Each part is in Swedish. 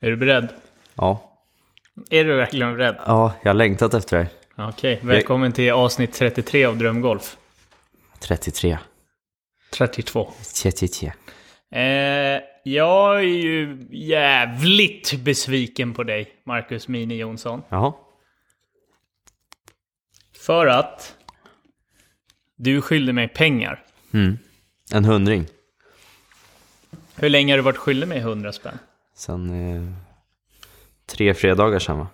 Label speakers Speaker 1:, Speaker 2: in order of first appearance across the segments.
Speaker 1: Är du beredd?
Speaker 2: Ja.
Speaker 1: Är du verkligen beredd?
Speaker 2: Ja, jag har längtat efter det här.
Speaker 1: Okej, välkommen till avsnitt 33 av Drömgolf.
Speaker 2: 33.
Speaker 1: 32.
Speaker 2: 33.
Speaker 1: Eh, jag är ju jävligt besviken på dig, Marcus Mini Jonsson.
Speaker 2: Jaha.
Speaker 1: För att du skyllde mig pengar.
Speaker 2: En hundring.
Speaker 1: Hur länge har du varit skyldig mig 100 spänn?
Speaker 2: Sen eh, tre fredagar sen va?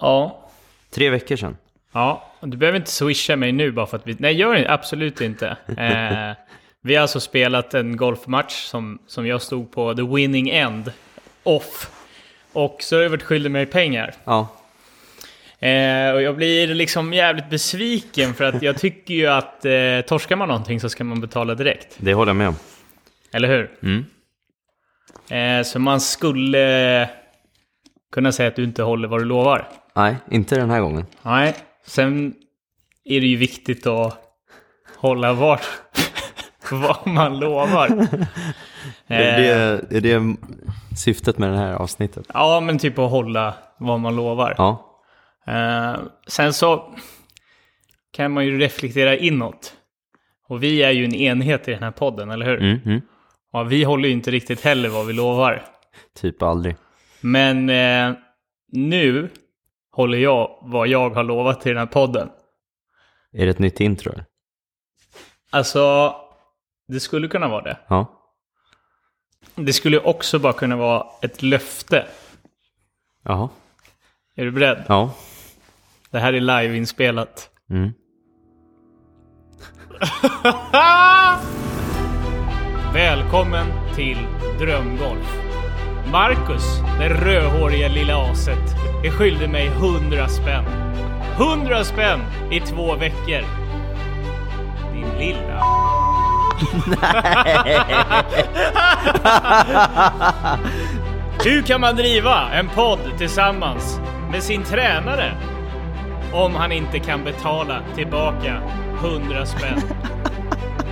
Speaker 1: Ja.
Speaker 2: Tre veckor sen.
Speaker 1: Ja, och du behöver inte swisha mig nu bara för att vi... Nej, gör det absolut inte. Eh, vi har alltså spelat en golfmatch som, som jag stod på the winning end, off. Och så har du varit skyldig mig pengar.
Speaker 2: Ja.
Speaker 1: Eh, och jag blir liksom jävligt besviken för att jag tycker ju att eh, torskar man någonting så ska man betala direkt.
Speaker 2: Det håller jag med om.
Speaker 1: Eller hur?
Speaker 2: Mm.
Speaker 1: Eh, så man skulle kunna säga att du inte håller vad du lovar.
Speaker 2: Nej, inte den här gången.
Speaker 1: Nej, sen är det ju viktigt att hålla vart vad man lovar.
Speaker 2: Är,
Speaker 1: Eh,
Speaker 2: det, är det syftet med det här avsnittet?
Speaker 1: Ja, men typ att hålla vad man lovar.
Speaker 2: Ja.
Speaker 1: Eh, sen så kan man ju reflektera inåt. Och vi är ju en enhet i den här podden, eller hur?
Speaker 2: Mm, mm.
Speaker 1: Ja, vi håller ju inte riktigt heller vad vi lovar.
Speaker 2: Typ aldrig.
Speaker 1: Men eh, nu håller jag vad jag har lovat till den här podden.
Speaker 2: Är det ett nytt intro eller?
Speaker 1: Alltså, det skulle kunna vara det.
Speaker 2: Ja.
Speaker 1: Det skulle också bara kunna vara ett löfte.
Speaker 2: Jaha.
Speaker 1: Är du beredd?
Speaker 2: Ja.
Speaker 1: Det här är liveinspelat.
Speaker 2: Mm.
Speaker 1: Välkommen till Drömgolf. Marcus, det rödhåriga lilla aset, är skyldig mig 100 spänn. 100 spänn i två veckor. Din lilla... Hur kan man driva en podd tillsammans med sin tränare om han inte kan betala tillbaka 100 spänn?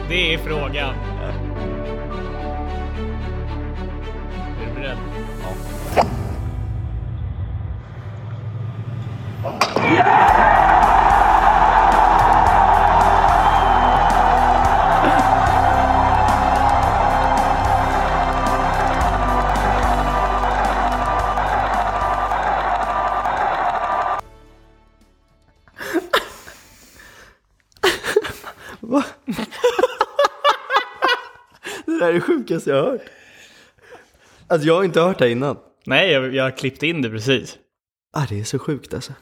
Speaker 1: Det är frågan. Är du beredd?
Speaker 2: Det där är det sjukaste jag har hört. Alltså jag har inte hört det innan.
Speaker 1: Nej, jag, jag klippte in det precis.
Speaker 2: Ah, det är så sjukt alltså.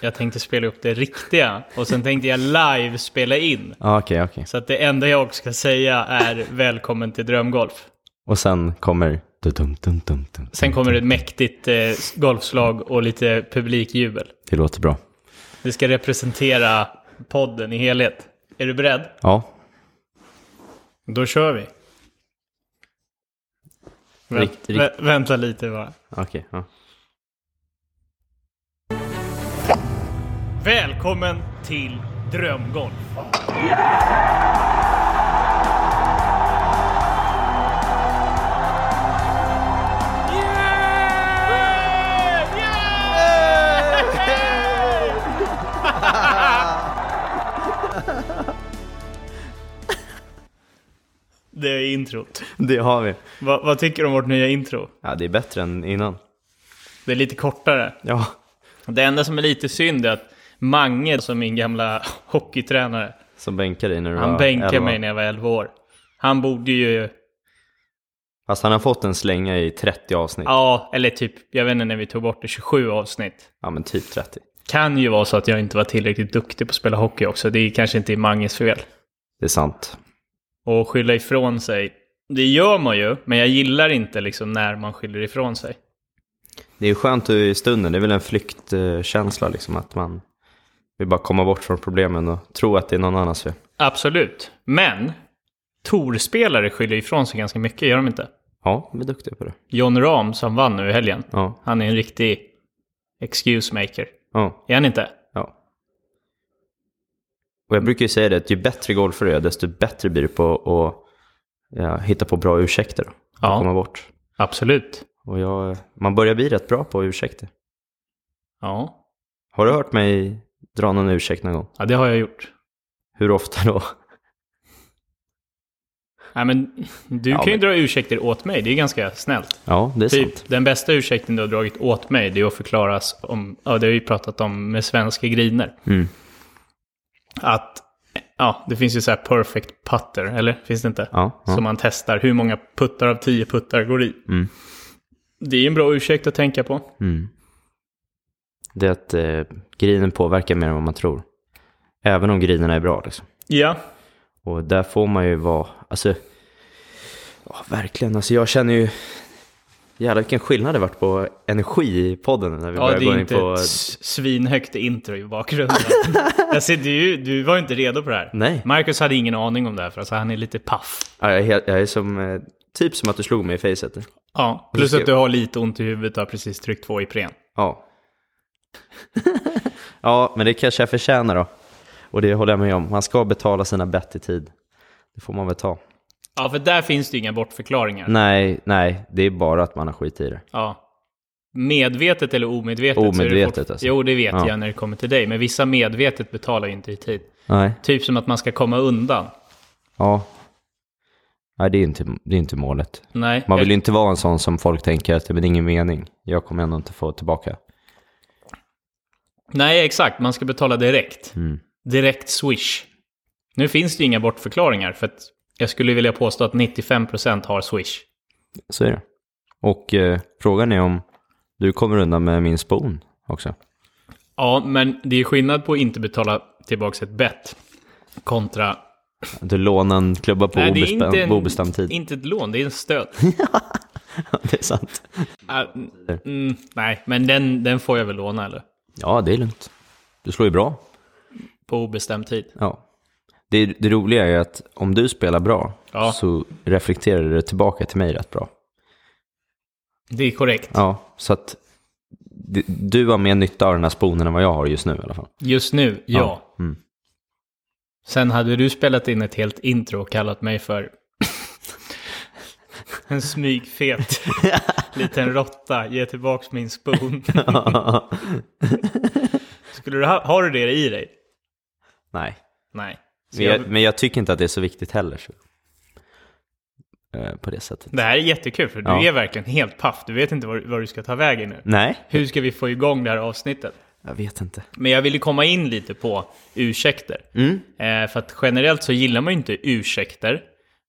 Speaker 1: Jag tänkte spela upp det riktiga och sen tänkte jag live spela in.
Speaker 2: Ja, okej, okej.
Speaker 1: Så att det enda jag ska säga är välkommen till Drömgolf.
Speaker 2: Och sen kommer... Dum, dum, dum, dum.
Speaker 1: Sen kommer det ett mäktigt eh, golfslag och lite publikjubel.
Speaker 2: Det låter bra.
Speaker 1: Det ska representera podden i helhet. Är du beredd?
Speaker 2: Ja.
Speaker 1: Då kör vi. Vänt,
Speaker 2: Rikt- rikt-
Speaker 1: vä- vänta lite bara.
Speaker 2: Okej. ja.
Speaker 1: Välkommen till Drömgolf. Det är introt.
Speaker 2: Det har vi.
Speaker 1: Vad, vad tycker du om vårt nya intro?
Speaker 2: Ja, det är bättre än innan.
Speaker 1: Det är lite kortare.
Speaker 2: Ja.
Speaker 1: Det enda som är lite synd är att Mange, som min gamla hockeytränare,
Speaker 2: Som bänkar dig när du
Speaker 1: han
Speaker 2: var
Speaker 1: bänkade
Speaker 2: 11.
Speaker 1: mig när jag var 11 år. Han borde ju,
Speaker 2: Fast han har fått en slänga i 30 avsnitt. Ja,
Speaker 1: ja, eller typ, jag vet inte när vi tog bort det, 27 avsnitt.
Speaker 2: men typ 30.
Speaker 1: Kan ju vara så att jag inte var tillräckligt duktig på att spela hockey också. Det är kanske inte Manges fel.
Speaker 2: Det är sant.
Speaker 1: Och skylla ifrån sig, det gör man ju, men jag gillar inte liksom när man skyller ifrån sig.
Speaker 2: Det är skönt i stunden. Det är väl en flyktkänsla liksom. Att man vill bara komma bort från problemen och tro att det är någon annans fel.
Speaker 1: Absolut, men torspelare skyller ifrån sig ganska mycket, gör de inte?
Speaker 2: Ja, vi är duktiga på det.
Speaker 1: John Rahm som vann nu i helgen,
Speaker 2: Ja.
Speaker 1: han är en riktig excuse maker.
Speaker 2: Ja.
Speaker 1: Är han inte?
Speaker 2: Ja. Och jag brukar ju säga det att ju bättre golfare du är, desto bättre blir du på att ja, hitta på bra ursäkter. Då,
Speaker 1: Ja.
Speaker 2: Komma bort.
Speaker 1: Absolut.
Speaker 2: Och jag, man börjar bli rätt bra på ursäkter.
Speaker 1: Ja.
Speaker 2: Har du hört mig dra någon ursäkt någon gång?
Speaker 1: ja, det har jag gjort.
Speaker 2: Hur ofta då?
Speaker 1: Nej, men du
Speaker 2: Ja,
Speaker 1: kan ju
Speaker 2: men-
Speaker 1: dra ursäkter åt mig, det är ganska snällt.
Speaker 2: Ja, det är sant.
Speaker 1: Typ, den bästa ursäkten du har dragit åt mig, det är att förklara om, ja det har vi pratat om med svenska griner.
Speaker 2: Mm.
Speaker 1: Att, ja, det finns ju så här perfect putter, eller? Finns det inte?
Speaker 2: Ja, ja.
Speaker 1: Som man testar, hur många puttar av tio puttar går i?
Speaker 2: Mm.
Speaker 1: Det är ju en bra ursäkt att tänka på.
Speaker 2: Mm. Det är att eh, grinen påverkar mer än vad man tror. Även om grinerna är bra liksom.
Speaker 1: Ja,
Speaker 2: Och där får man ju vara, alltså, ja verkligen, alltså jag känner ju, jävlar vilken skillnad det varit på energi i podden när vi
Speaker 1: ja
Speaker 2: börjar
Speaker 1: det
Speaker 2: gå
Speaker 1: är
Speaker 2: in
Speaker 1: inte
Speaker 2: på...
Speaker 1: ett s- svinhögt intro i bakgrunden. jag ser, du, du var ju inte redo på det här.
Speaker 2: Nej,
Speaker 1: Marcus hade ingen aning om det här, för alltså, han är lite paff.
Speaker 2: ja, jag, är helt- jag är som, eh, typ som att du slog mig i facet.
Speaker 1: Ja, plus
Speaker 2: ska-
Speaker 1: att du har lite ont i huvudet och har precis tryckt två Ipren.
Speaker 2: Ja. ja, men det kanske jag förtjänar då. Och det håller jag med om, man ska betala sina bett i tid. Det får man väl ta.
Speaker 1: Ja, för där finns det ju inga bortförklaringar.
Speaker 2: Nej, nej, det är bara att man har skit i det.
Speaker 1: Ja. Medvetet eller omedvetet? så är det
Speaker 2: Omedvetet,
Speaker 1: fort-
Speaker 2: alltså.
Speaker 1: Jo, det vet
Speaker 2: Ja.
Speaker 1: jag när det kommer till dig. Men vissa medvetet betalar ju inte i tid.
Speaker 2: Nej,
Speaker 1: Typ som att man ska komma undan.
Speaker 2: ja. Nej, det är inte, det är inte målet.
Speaker 1: Nej.
Speaker 2: Man vill ju inte vara en sån som folk tänker att det är ingen mening. Jag kommer ändå inte få tillbaka.
Speaker 1: Nej, exakt. Man ska betala direkt.
Speaker 2: Mm.
Speaker 1: Direkt swish. Nu finns det ju inga bortförklaringar, för att jag skulle vilja påstå att 95% har swish.
Speaker 2: Så är det. Och eh, frågan är om du kommer undan med min spon också.
Speaker 1: Ja, men det är skillnad på att inte betala tillbaka ett bett kontra...
Speaker 2: Du lånar en klubba på
Speaker 1: det är
Speaker 2: obestämd,
Speaker 1: inte, en,
Speaker 2: obestämd tid.
Speaker 1: inte ett lån, det är en stöd.
Speaker 2: det är sant.
Speaker 1: Ah, mm, mm, nej, men den, den får jag väl låna, eller?
Speaker 2: Ja, det är lugnt. Du slår ju bra.
Speaker 1: På obestämd tid.
Speaker 2: Ja. Det, det roliga är ju att om du spelar bra
Speaker 1: Ja.
Speaker 2: så reflekterar det tillbaka till mig rätt bra.
Speaker 1: Det är korrekt.
Speaker 2: Ja, så att d- du har mer nytta av den här sponen än vad jag har just nu i alla fall.
Speaker 1: Just nu, ja.
Speaker 2: Ja, mm.
Speaker 1: Sen hade du spelat in ett helt intro och kallat mig för en smygfet liten råtta, ge tillbaks min spoon. Skulle du ha, har du det i dig?
Speaker 2: Nej.
Speaker 1: Nej. Så
Speaker 2: Men jag,
Speaker 1: jag,
Speaker 2: men jag tycker inte att det är så viktigt heller. Så. Eh, på det sättet.
Speaker 1: det här är jättekul, för du
Speaker 2: Ja. Mm.
Speaker 1: är verkligen helt paff. Du vet inte var, var du ska ta vägen nu.
Speaker 2: Nej,
Speaker 1: Hur ska vi få igång det här avsnittet?
Speaker 2: jag vet inte.
Speaker 1: Men jag ville komma in lite på ursäkter. Eh, för att generellt så gillar man ju inte ursäkter.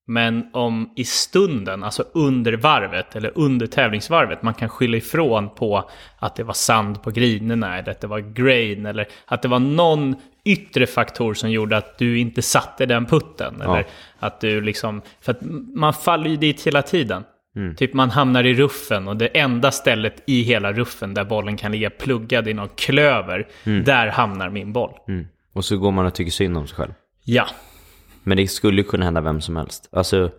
Speaker 1: Men om i stunden, alltså under varvet eller under tävlingsvarvet, man kan skylla ifrån på att det var sand på grinerna eller att det var grain eller att det var någon yttre faktor som gjorde att du inte satte den putten. Eller att du liksom, för att man faller ju dit hela tiden.
Speaker 2: Mm.
Speaker 1: Typ man hamnar i ruffen och det enda stället i hela ruffen där bollen kan ligga pluggad i någon klöver, där hamnar min boll.
Speaker 2: Mm. Och så går man och tycker synd om sig själv.
Speaker 1: Ja.
Speaker 2: Men det skulle ju kunna hända vem som helst. Alltså,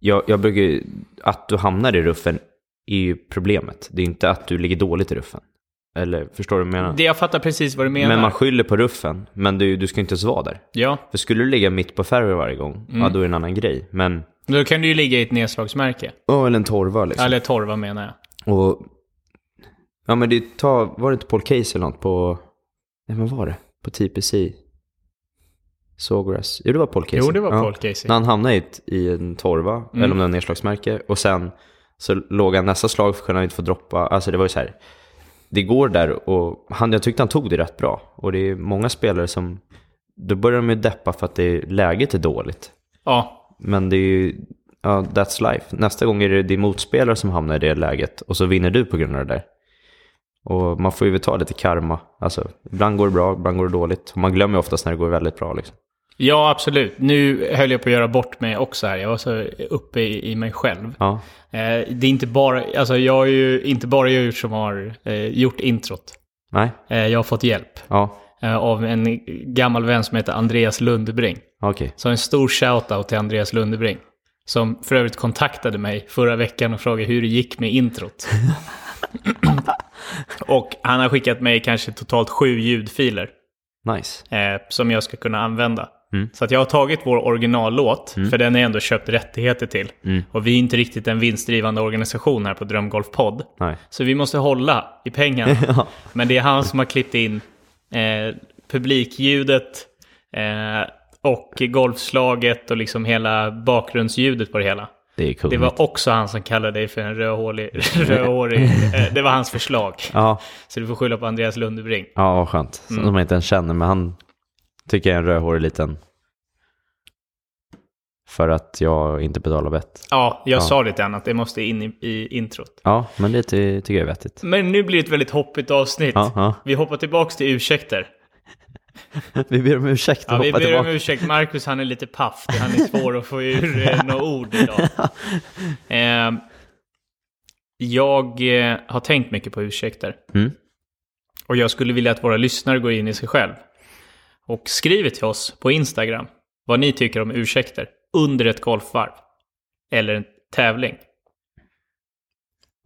Speaker 2: jag, jag brukar ju, att du hamnar i ruffen är ju problemet. Det är inte att du ligger dåligt i ruffen. Eller förstår du vad jag menar?
Speaker 1: Det jag fattar precis vad du menar.
Speaker 2: Mm. Men man skyller på ruffen, men du, du ska inte ens vara där.
Speaker 1: Ja,
Speaker 2: För skulle du ligga mitt på fairway varje gång, ja då är det en annan grej. Men,
Speaker 1: men då kan du ju ligga i ett nedslagsmärke.
Speaker 2: ja eller en torva liksom.
Speaker 1: Eller torva menar jag.
Speaker 2: Och, ja men det ta, var det inte Paul Casey eller något på, nej men var det? På TPC? Sawgrass? Jo det var Paul Casey.
Speaker 1: Jo, det var
Speaker 2: ja.
Speaker 1: Paul Mm. Casey.
Speaker 2: När han hamnade i, ett, i en torva, eller om det var nedslagsmärke, och sen så låg han nästa slag för kunde han inte få droppa, alltså det var ju så här. Det går där och han, jag tyckte han tog det rätt bra. Och det är många spelare som, då börjar de ju deppa för att det, läget är dåligt.
Speaker 1: Ja,
Speaker 2: Men det är ju, ja, that's life. Nästa gång är det din motspelare som hamnar i det läget och så vinner du på grund av det där. Och man får ju väl ta lite karma. Alltså, ibland går det bra, ibland går det dåligt. Och man glömmer ju oftast när det går väldigt bra liksom.
Speaker 1: ja absolut. Nu höll jag på att göra bort mig också här. Jag var så uppe i, i mig själv.
Speaker 2: Ja,
Speaker 1: Eh, det är inte bara, alltså jag är ju inte bara jag som har eh, gjort introt.
Speaker 2: nej,
Speaker 1: Eh, jag har fått hjälp
Speaker 2: ja,
Speaker 1: eh, av en gammal vän som heter Andreas Lundebring.
Speaker 2: okej.
Speaker 1: Så en stor shout-out till Andreas Lundebring. Som för övrigt kontaktade mig förra veckan och frågade hur det gick med introt. och han har skickat mig kanske totalt sju ljudfiler
Speaker 2: Nice.
Speaker 1: eh, som jag ska kunna använda. Så att jag har tagit vår originallåt, för den är ändå köpt rättigheter till. Och vi är inte riktigt en vinstdrivande organisation här på Drömgolf Podd.
Speaker 2: Nej.
Speaker 1: Så vi måste hålla i pengarna.
Speaker 2: Ja.
Speaker 1: Men det är han som har klippt in eh, publikljudet eh, och golfslaget och liksom hela bakgrundsljudet på det hela.
Speaker 2: Det är kul.
Speaker 1: Det var också han som kallade dig för en rödhårig... rödhårig eh, det var hans förslag.
Speaker 2: Ja,
Speaker 1: Så du får skylla på Andreas Lundebring.
Speaker 2: ja vad skönt. Som
Speaker 1: Mm.
Speaker 2: man inte ens känner, men han tycker jag är en rödhårig liten. För att jag inte betalar bett.
Speaker 1: Ja, jag sa det till honom att det måste in i, i introt.
Speaker 2: Ja, men det ty- tycker jag är vettigt.
Speaker 1: Men nu blir det ett väldigt hoppigt avsnitt.
Speaker 2: Ja, ja.
Speaker 1: Vi hoppar tillbaka till ursäkter.
Speaker 2: Vi ber om ursäkt och
Speaker 1: Ja, vi
Speaker 2: hoppar
Speaker 1: ber
Speaker 2: tillbaka.
Speaker 1: om ursäkt, Marcus han är lite paff. Han är svår att få ur eh, några ord idag. Eh, jag eh, har tänkt mycket på ursäkter.
Speaker 2: Mm.
Speaker 1: Och jag skulle vilja att våra lyssnare går in i sig själv. Och skriver till oss på Instagram vad ni tycker om ursäkter under ett golfvarv. Eller en tävling.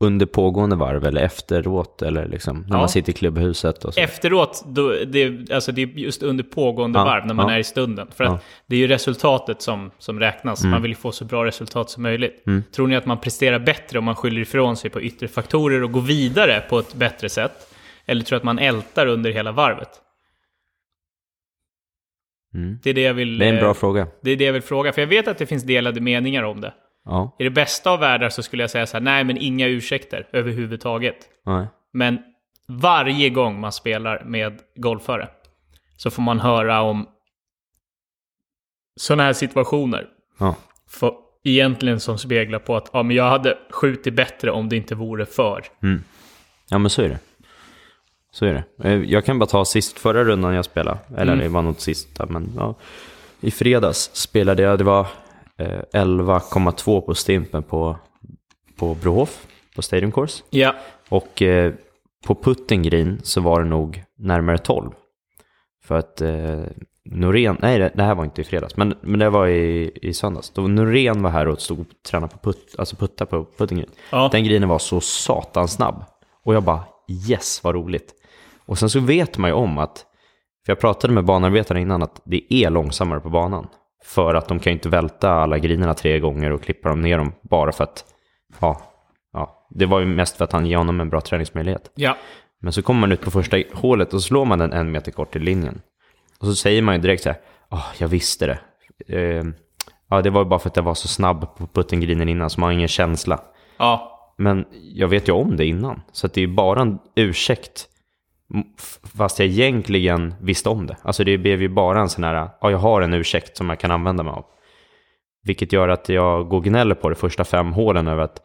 Speaker 2: Under pågående varv eller efteråt eller liksom när
Speaker 1: Ja.
Speaker 2: man sitter i klubbhuset och så.
Speaker 1: Efteråt, då, det, alltså det är just under pågående
Speaker 2: Ja,
Speaker 1: varv när man
Speaker 2: ja.
Speaker 1: är i stunden. För
Speaker 2: Ja. Mm.
Speaker 1: att det är ju resultatet som, som räknas. Man vill ju få så bra resultat som möjligt. Tror ni att man presterar bättre om man skyller ifrån sig på yttre faktorer och går vidare på ett bättre sätt? Eller tror du att man ältar under hela varvet?
Speaker 2: Mm.
Speaker 1: Det är det jag vill...
Speaker 2: Det är en
Speaker 1: eh,
Speaker 2: bra fråga.
Speaker 1: Det är det jag vill fråga, för jag vet att det finns delade meningar om det.
Speaker 2: Ja.
Speaker 1: I det bästa av världar så skulle jag säga så här, nej men inga ursäkter överhuvudtaget.
Speaker 2: Nej.
Speaker 1: Men varje gång man spelar med golfare så får man höra om sådana här situationer.
Speaker 2: Ja.
Speaker 1: För egentligen som speglar på att ja, men jag hade skjutit bättre om det inte vore för.
Speaker 2: Ja, men så är det. Så är det. Eh, Jag kan bara ta sist, förra rundan jag spelade,
Speaker 1: Mm.
Speaker 2: eller det var något sista, men ja. I fredags spelade jag, det var eh, 11,2 på stimpen på, på Brohof, på Stadium Course.
Speaker 1: Ja,
Speaker 2: Och eh, på putten green så var det nog närmare 12. För att eh, Norén, nej det, det här var inte i fredags, men, men det var i, i söndags. Då Norén var här och stod och tränade på putt, alltså putta på putten green.
Speaker 1: Ja.
Speaker 2: Den greenen var så satans snabb. Och jag bara yes vad roligt. Och sen så vet man ju om att, för jag pratade med banarbetare innan, att det är långsammare på banan. För att de kan ju inte välta alla grinerna tre gånger och klippa dem ner dem bara för att, ja, ja. Det var ju mest för att han ger honom en bra träningsmöjlighet.
Speaker 1: ja,
Speaker 2: Men så kommer man ut på första hålet och slår man den en meter kort i linjen. Och så säger man ju direkt så här, ah, jag visste det. Eh, ja, det var ju bara för att jag var så snabb på puttinggrinen innan, så man har ingen känsla.
Speaker 1: ja.
Speaker 2: Men jag vet ju om det innan, så att det är ju bara en ursäkt. m- f- Fast jag egentligen visste om det. Alltså det blev ju bara en sån här, ja, jag har en ursäkt som jag kan använda mig av. Vilket gör att jag går och gnäller på de första fem hålen över att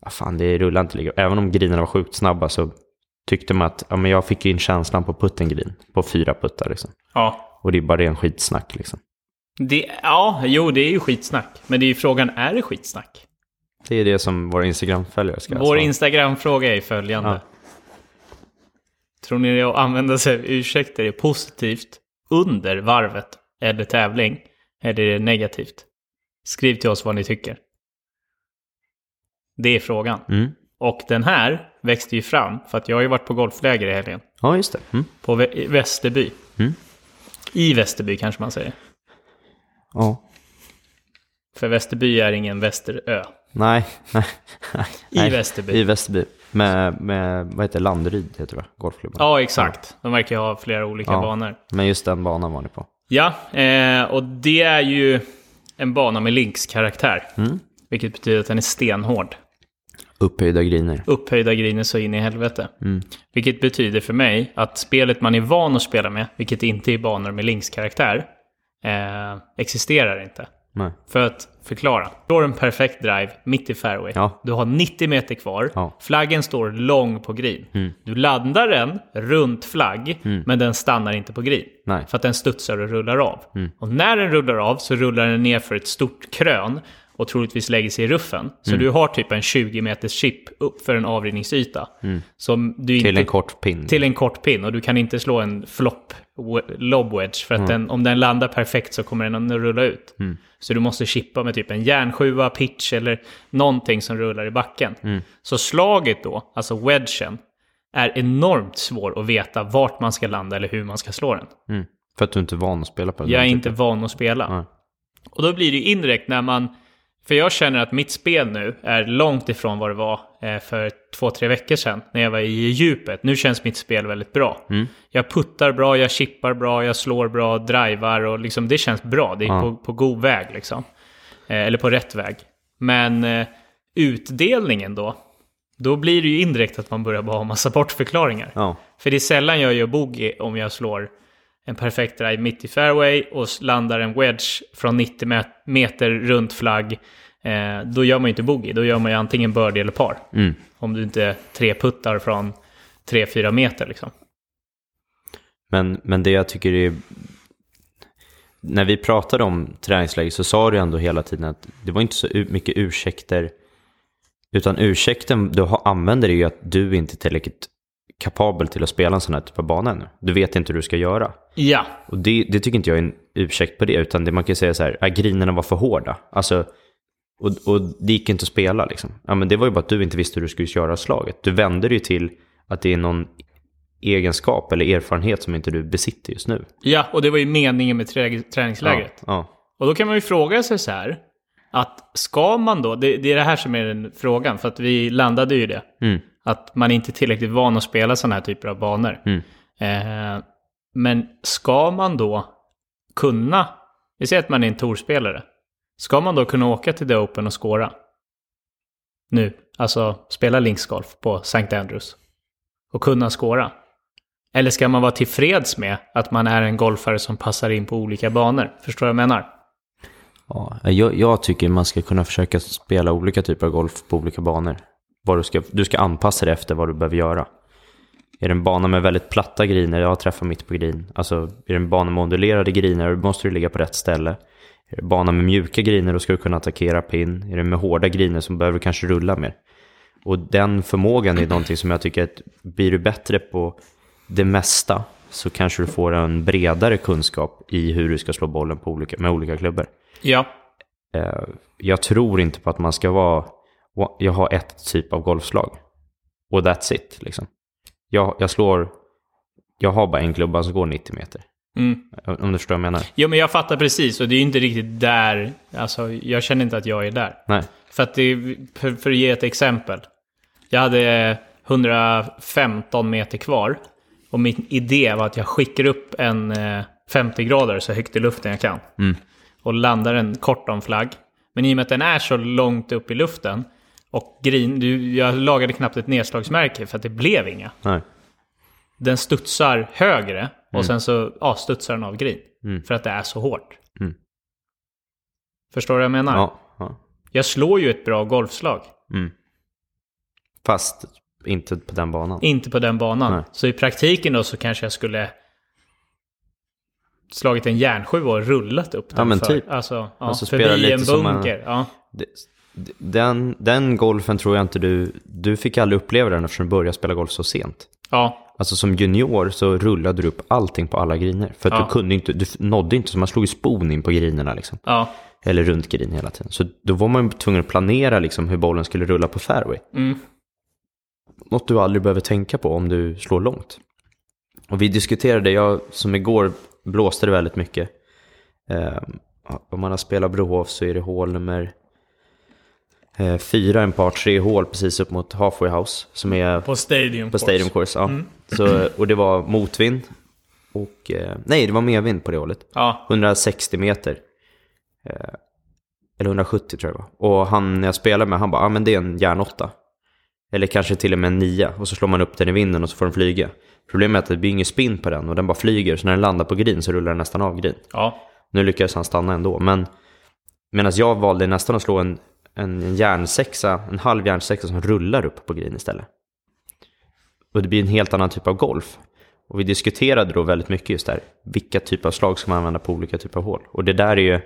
Speaker 2: ah, fan, det rullar inte lika. Även om greenerna var sjukt snabba så tyckte man att ja, men jag fick in känslan på putten green, på fyra puttar liksom.
Speaker 1: ja.
Speaker 2: Och det är bara ren skitsnack liksom.
Speaker 1: Det, ja, jo det är ju skitsnack. Men det är ju frågan, är det skitsnack?
Speaker 2: Det är det som våra Instagram-följare ska
Speaker 1: Vår
Speaker 2: svara.
Speaker 1: Instagram-fråga är följande. Tror ni det att använda sig av ursäkter är positivt under varvet eller tävling? Eller är det negativt? Skriv till oss vad ni tycker. Det är frågan.
Speaker 2: Mm.
Speaker 1: Och den här växte ju fram för att jag har ju varit på golfläger i helgen.
Speaker 2: Ja, just det. Mm.
Speaker 1: På Vä- i Västerby.
Speaker 2: Mm.
Speaker 1: I Västerby kanske man säger.
Speaker 2: Ja.
Speaker 1: För Västerby är ingen västerö.
Speaker 2: Nej, nej.
Speaker 1: I
Speaker 2: nej.
Speaker 1: Västerby.
Speaker 2: I Västerby. Med, med, vad heter det? Landeryd heter det, va? golfklubben.
Speaker 1: Ja, exakt. De verkar ju ha flera olika
Speaker 2: Ja.
Speaker 1: banor.
Speaker 2: Men just den banan var ni på.
Speaker 1: Ja, eh, och det är ju en bana med Links-karaktär. Vilket betyder att den är stenhård.
Speaker 2: Upphöjda griner.
Speaker 1: Upphöjda griner så in i helvete. Vilket betyder för mig att spelet man är van att spela med, vilket inte är banor med Links-karaktär, eh, existerar inte.
Speaker 2: Nej.
Speaker 1: För att förklara. Du har en perfekt drive mitt i fairway.
Speaker 2: Ja.
Speaker 1: Du har 90 meter kvar.
Speaker 2: Ja. Mm.
Speaker 1: Flaggen står lång på green. Du landar den runt flagg, men den stannar inte på green.
Speaker 2: Nej. Mm.
Speaker 1: För att den studsar och rullar av. Och när den rullar av så rullar den ner för ett stort krön och troligtvis lägger sig i ruffen. Så
Speaker 2: Mm.
Speaker 1: du har typ en 20 meters chip upp för en avrinningsyta. Som du
Speaker 2: Mm. Till
Speaker 1: inte
Speaker 2: en kort pin.
Speaker 1: till en kort pin och du kan inte slå en flop we- lob wedge för att den, om den landar perfekt så kommer den att rulla ut. Så du måste chippa med typ en järnsjua, pitch eller någonting som rullar i backen. Så slaget då, alltså wedgen, är enormt svår att veta vart man ska landa eller hur man ska slå den.
Speaker 2: Mm. För att du inte är van att spela på den
Speaker 1: Jag är
Speaker 2: här
Speaker 1: inte
Speaker 2: typen.
Speaker 1: van att spela.
Speaker 2: Nej.
Speaker 1: Och då blir det ju indirekt när man... För jag känner att mitt spel nu är långt ifrån vad det var eh, för två, tre veckor sedan när jag var i djupet. Nu känns mitt spel väldigt bra.
Speaker 2: Mm.
Speaker 1: Jag puttar bra, jag chippar bra, jag slår bra, drivar och liksom det känns bra. Det är
Speaker 2: Ja.
Speaker 1: på, på god väg liksom. Eh, Eller på rätt väg. Men eh, utdelningen då, då blir det ju indirekt att man börjar bara ha massa bortförklaringar.
Speaker 2: Ja.
Speaker 1: För det är sällan jag gör bogey om jag slår en perfekt drive mitt i fairway och s- landar en wedge från 90 met- meter runt flagg. Eh, då gör man ju inte bogey, då gör man ju antingen birdie eller par.
Speaker 2: Mm.
Speaker 1: Om du inte tre puttar från 3-4 meter liksom.
Speaker 2: Men, men det jag tycker är... När vi pratade om träningsläge så sa du ändå hela tiden att det var inte så u- mycket ursäkter. Utan ursäkten du har- använder är ju att du inte är tillräckligt kapabel till att spela en sån här typ av bana ännu. Du vet inte hur du ska göra.
Speaker 1: Ja,
Speaker 2: Och det, det tycker inte jag är en ursäkt på det, utan det man kan säga så här, att grinerna var för hårda. Alltså, och, och det gick inte att spela liksom. Ja, men det var ju bara att du inte visste hur du skulle göra slaget. Du vände dig till att det är någon egenskap eller erfarenhet som inte du besitter just nu.
Speaker 1: ja, och det var ju meningen med trä- träningslägret.
Speaker 2: Ja,
Speaker 1: Och då kan man ju fråga sig så här. Att ska man då, det, det är det här som är den frågan, för att vi landade ju i det.
Speaker 2: ja. Mm.
Speaker 1: Att man inte är tillräckligt van att spela sådana här typer av banor.
Speaker 2: Mm.
Speaker 1: Eh, men ska man då kunna, vi säger att man är en tourspelare. Ska man då kunna åka till The Open och skåra? Nu, alltså spela linksgolf på St. Andrews. Och kunna skåra. Eller ska man vara tillfreds med att man är en golfare som passar in på olika banor? Förstår du vad jag menar?
Speaker 2: ja. Jag, jag tycker man ska kunna försöka spela olika typer av golf på olika banor. Vad du, ska, du ska anpassa dig efter vad du behöver göra. Är det en bana med väldigt platta griner, jag träffar mitt på green. Alltså, är det en bana med ondulerade griner, då måste du ligga på rätt ställe. Är det en bana med mjuka griner, då ska du kunna attackera pin. Är det med hårda griner så behöver du kanske rulla mer. Och den förmågan är någonting som jag tycker att blir du bättre på det mesta så kanske du får en bredare kunskap i hur du ska slå bollen på olika, med olika klubbor.
Speaker 1: Ja.
Speaker 2: Eh, jag tror inte på att man ska vara, jag har ett typ av golfslag. Och that's it, liksom. Jag, jag slår, jag har bara en klubba som går 90 meter.
Speaker 1: Mm.
Speaker 2: Om du förstår vad jag menar?
Speaker 1: Jo, men jag fattar precis och det är ju inte riktigt där, alltså jag känner inte att jag är där.
Speaker 2: Nej.
Speaker 1: För att det, för, för att ge ett exempel. Jag hade 115 meter kvar. Och min idé var att jag skickar upp en eh, 50 grader så högt i luften jag kan.
Speaker 2: Mm.
Speaker 1: Och landar den kort om flagg. Men i och med att den är så långt upp i luften. Och green, du, jag lagade knappt ett nedslagsmärke för att det blev inga.
Speaker 2: Nej.
Speaker 1: Den studsar högre och
Speaker 2: Mm.
Speaker 1: sen så ja, studsar den av green. För att det är så hårt.
Speaker 2: Mm.
Speaker 1: Förstår du vad jag menar?
Speaker 2: Ja, ja. Mm.
Speaker 1: Jag slår ju ett bra golfslag.
Speaker 2: Fast inte på den banan.
Speaker 1: Inte på den banan.
Speaker 2: Nej.
Speaker 1: Så i praktiken då så kanske jag skulle slagit en järnsjua och rullat upp den
Speaker 2: men
Speaker 1: för,
Speaker 2: typ.
Speaker 1: alltså, ja,
Speaker 2: Alltså, spela
Speaker 1: förbi
Speaker 2: lite
Speaker 1: en
Speaker 2: som en-
Speaker 1: bunker. Ja.
Speaker 2: Det- Den, den golfen tror jag inte du, du fick aldrig uppleva den eftersom du började spela golf så sent.
Speaker 1: ja,
Speaker 2: Alltså som junior så rullade du upp allting på alla griner. För att
Speaker 1: Ja.
Speaker 2: du kunde inte, du nådde inte, så man slog ju spon in på grinerna liksom.
Speaker 1: ja,
Speaker 2: Eller runt green hela tiden. Så då var man ju tvungen att planera liksom hur bollen skulle rulla på fairway.
Speaker 1: Mm.
Speaker 2: Något du aldrig behöver tänka på om du slår långt. Och vi diskuterade, jag som igår blåste det väldigt mycket. Eh, om man har spelat Brohof så är det hål nummer eh, fyra, en par tre hål precis upp mot halfway house. Som är
Speaker 1: på Mm. Stadium
Speaker 2: på
Speaker 1: Course.
Speaker 2: Stadium Course, ja. Så, och det var motvind. Och, eh, nej, det var medvind på det hålet.
Speaker 1: Ja,
Speaker 2: 160 meter. Eh, eller 170 tror jag det var. Och han jag spelade med, han bara, ah, men det är en järnåtta. Eller kanske till och med en nia. Och så slår man upp den i vinden och så får den flyga. Problemet är att det blir ingen spin på den och den bara flyger. Så när den landar på green så rullar den nästan av green.
Speaker 1: ja,
Speaker 2: Nu lyckades han stanna ändå, men medan jag valde nästan att slå en, en järnsexa, en halv järnsexa som rullar upp på green istället. Och det blir en helt annan typ av golf. Och vi diskuterade då väldigt mycket just där, vilka typer av slag ska man använda på olika typer av hål? Och det där är ju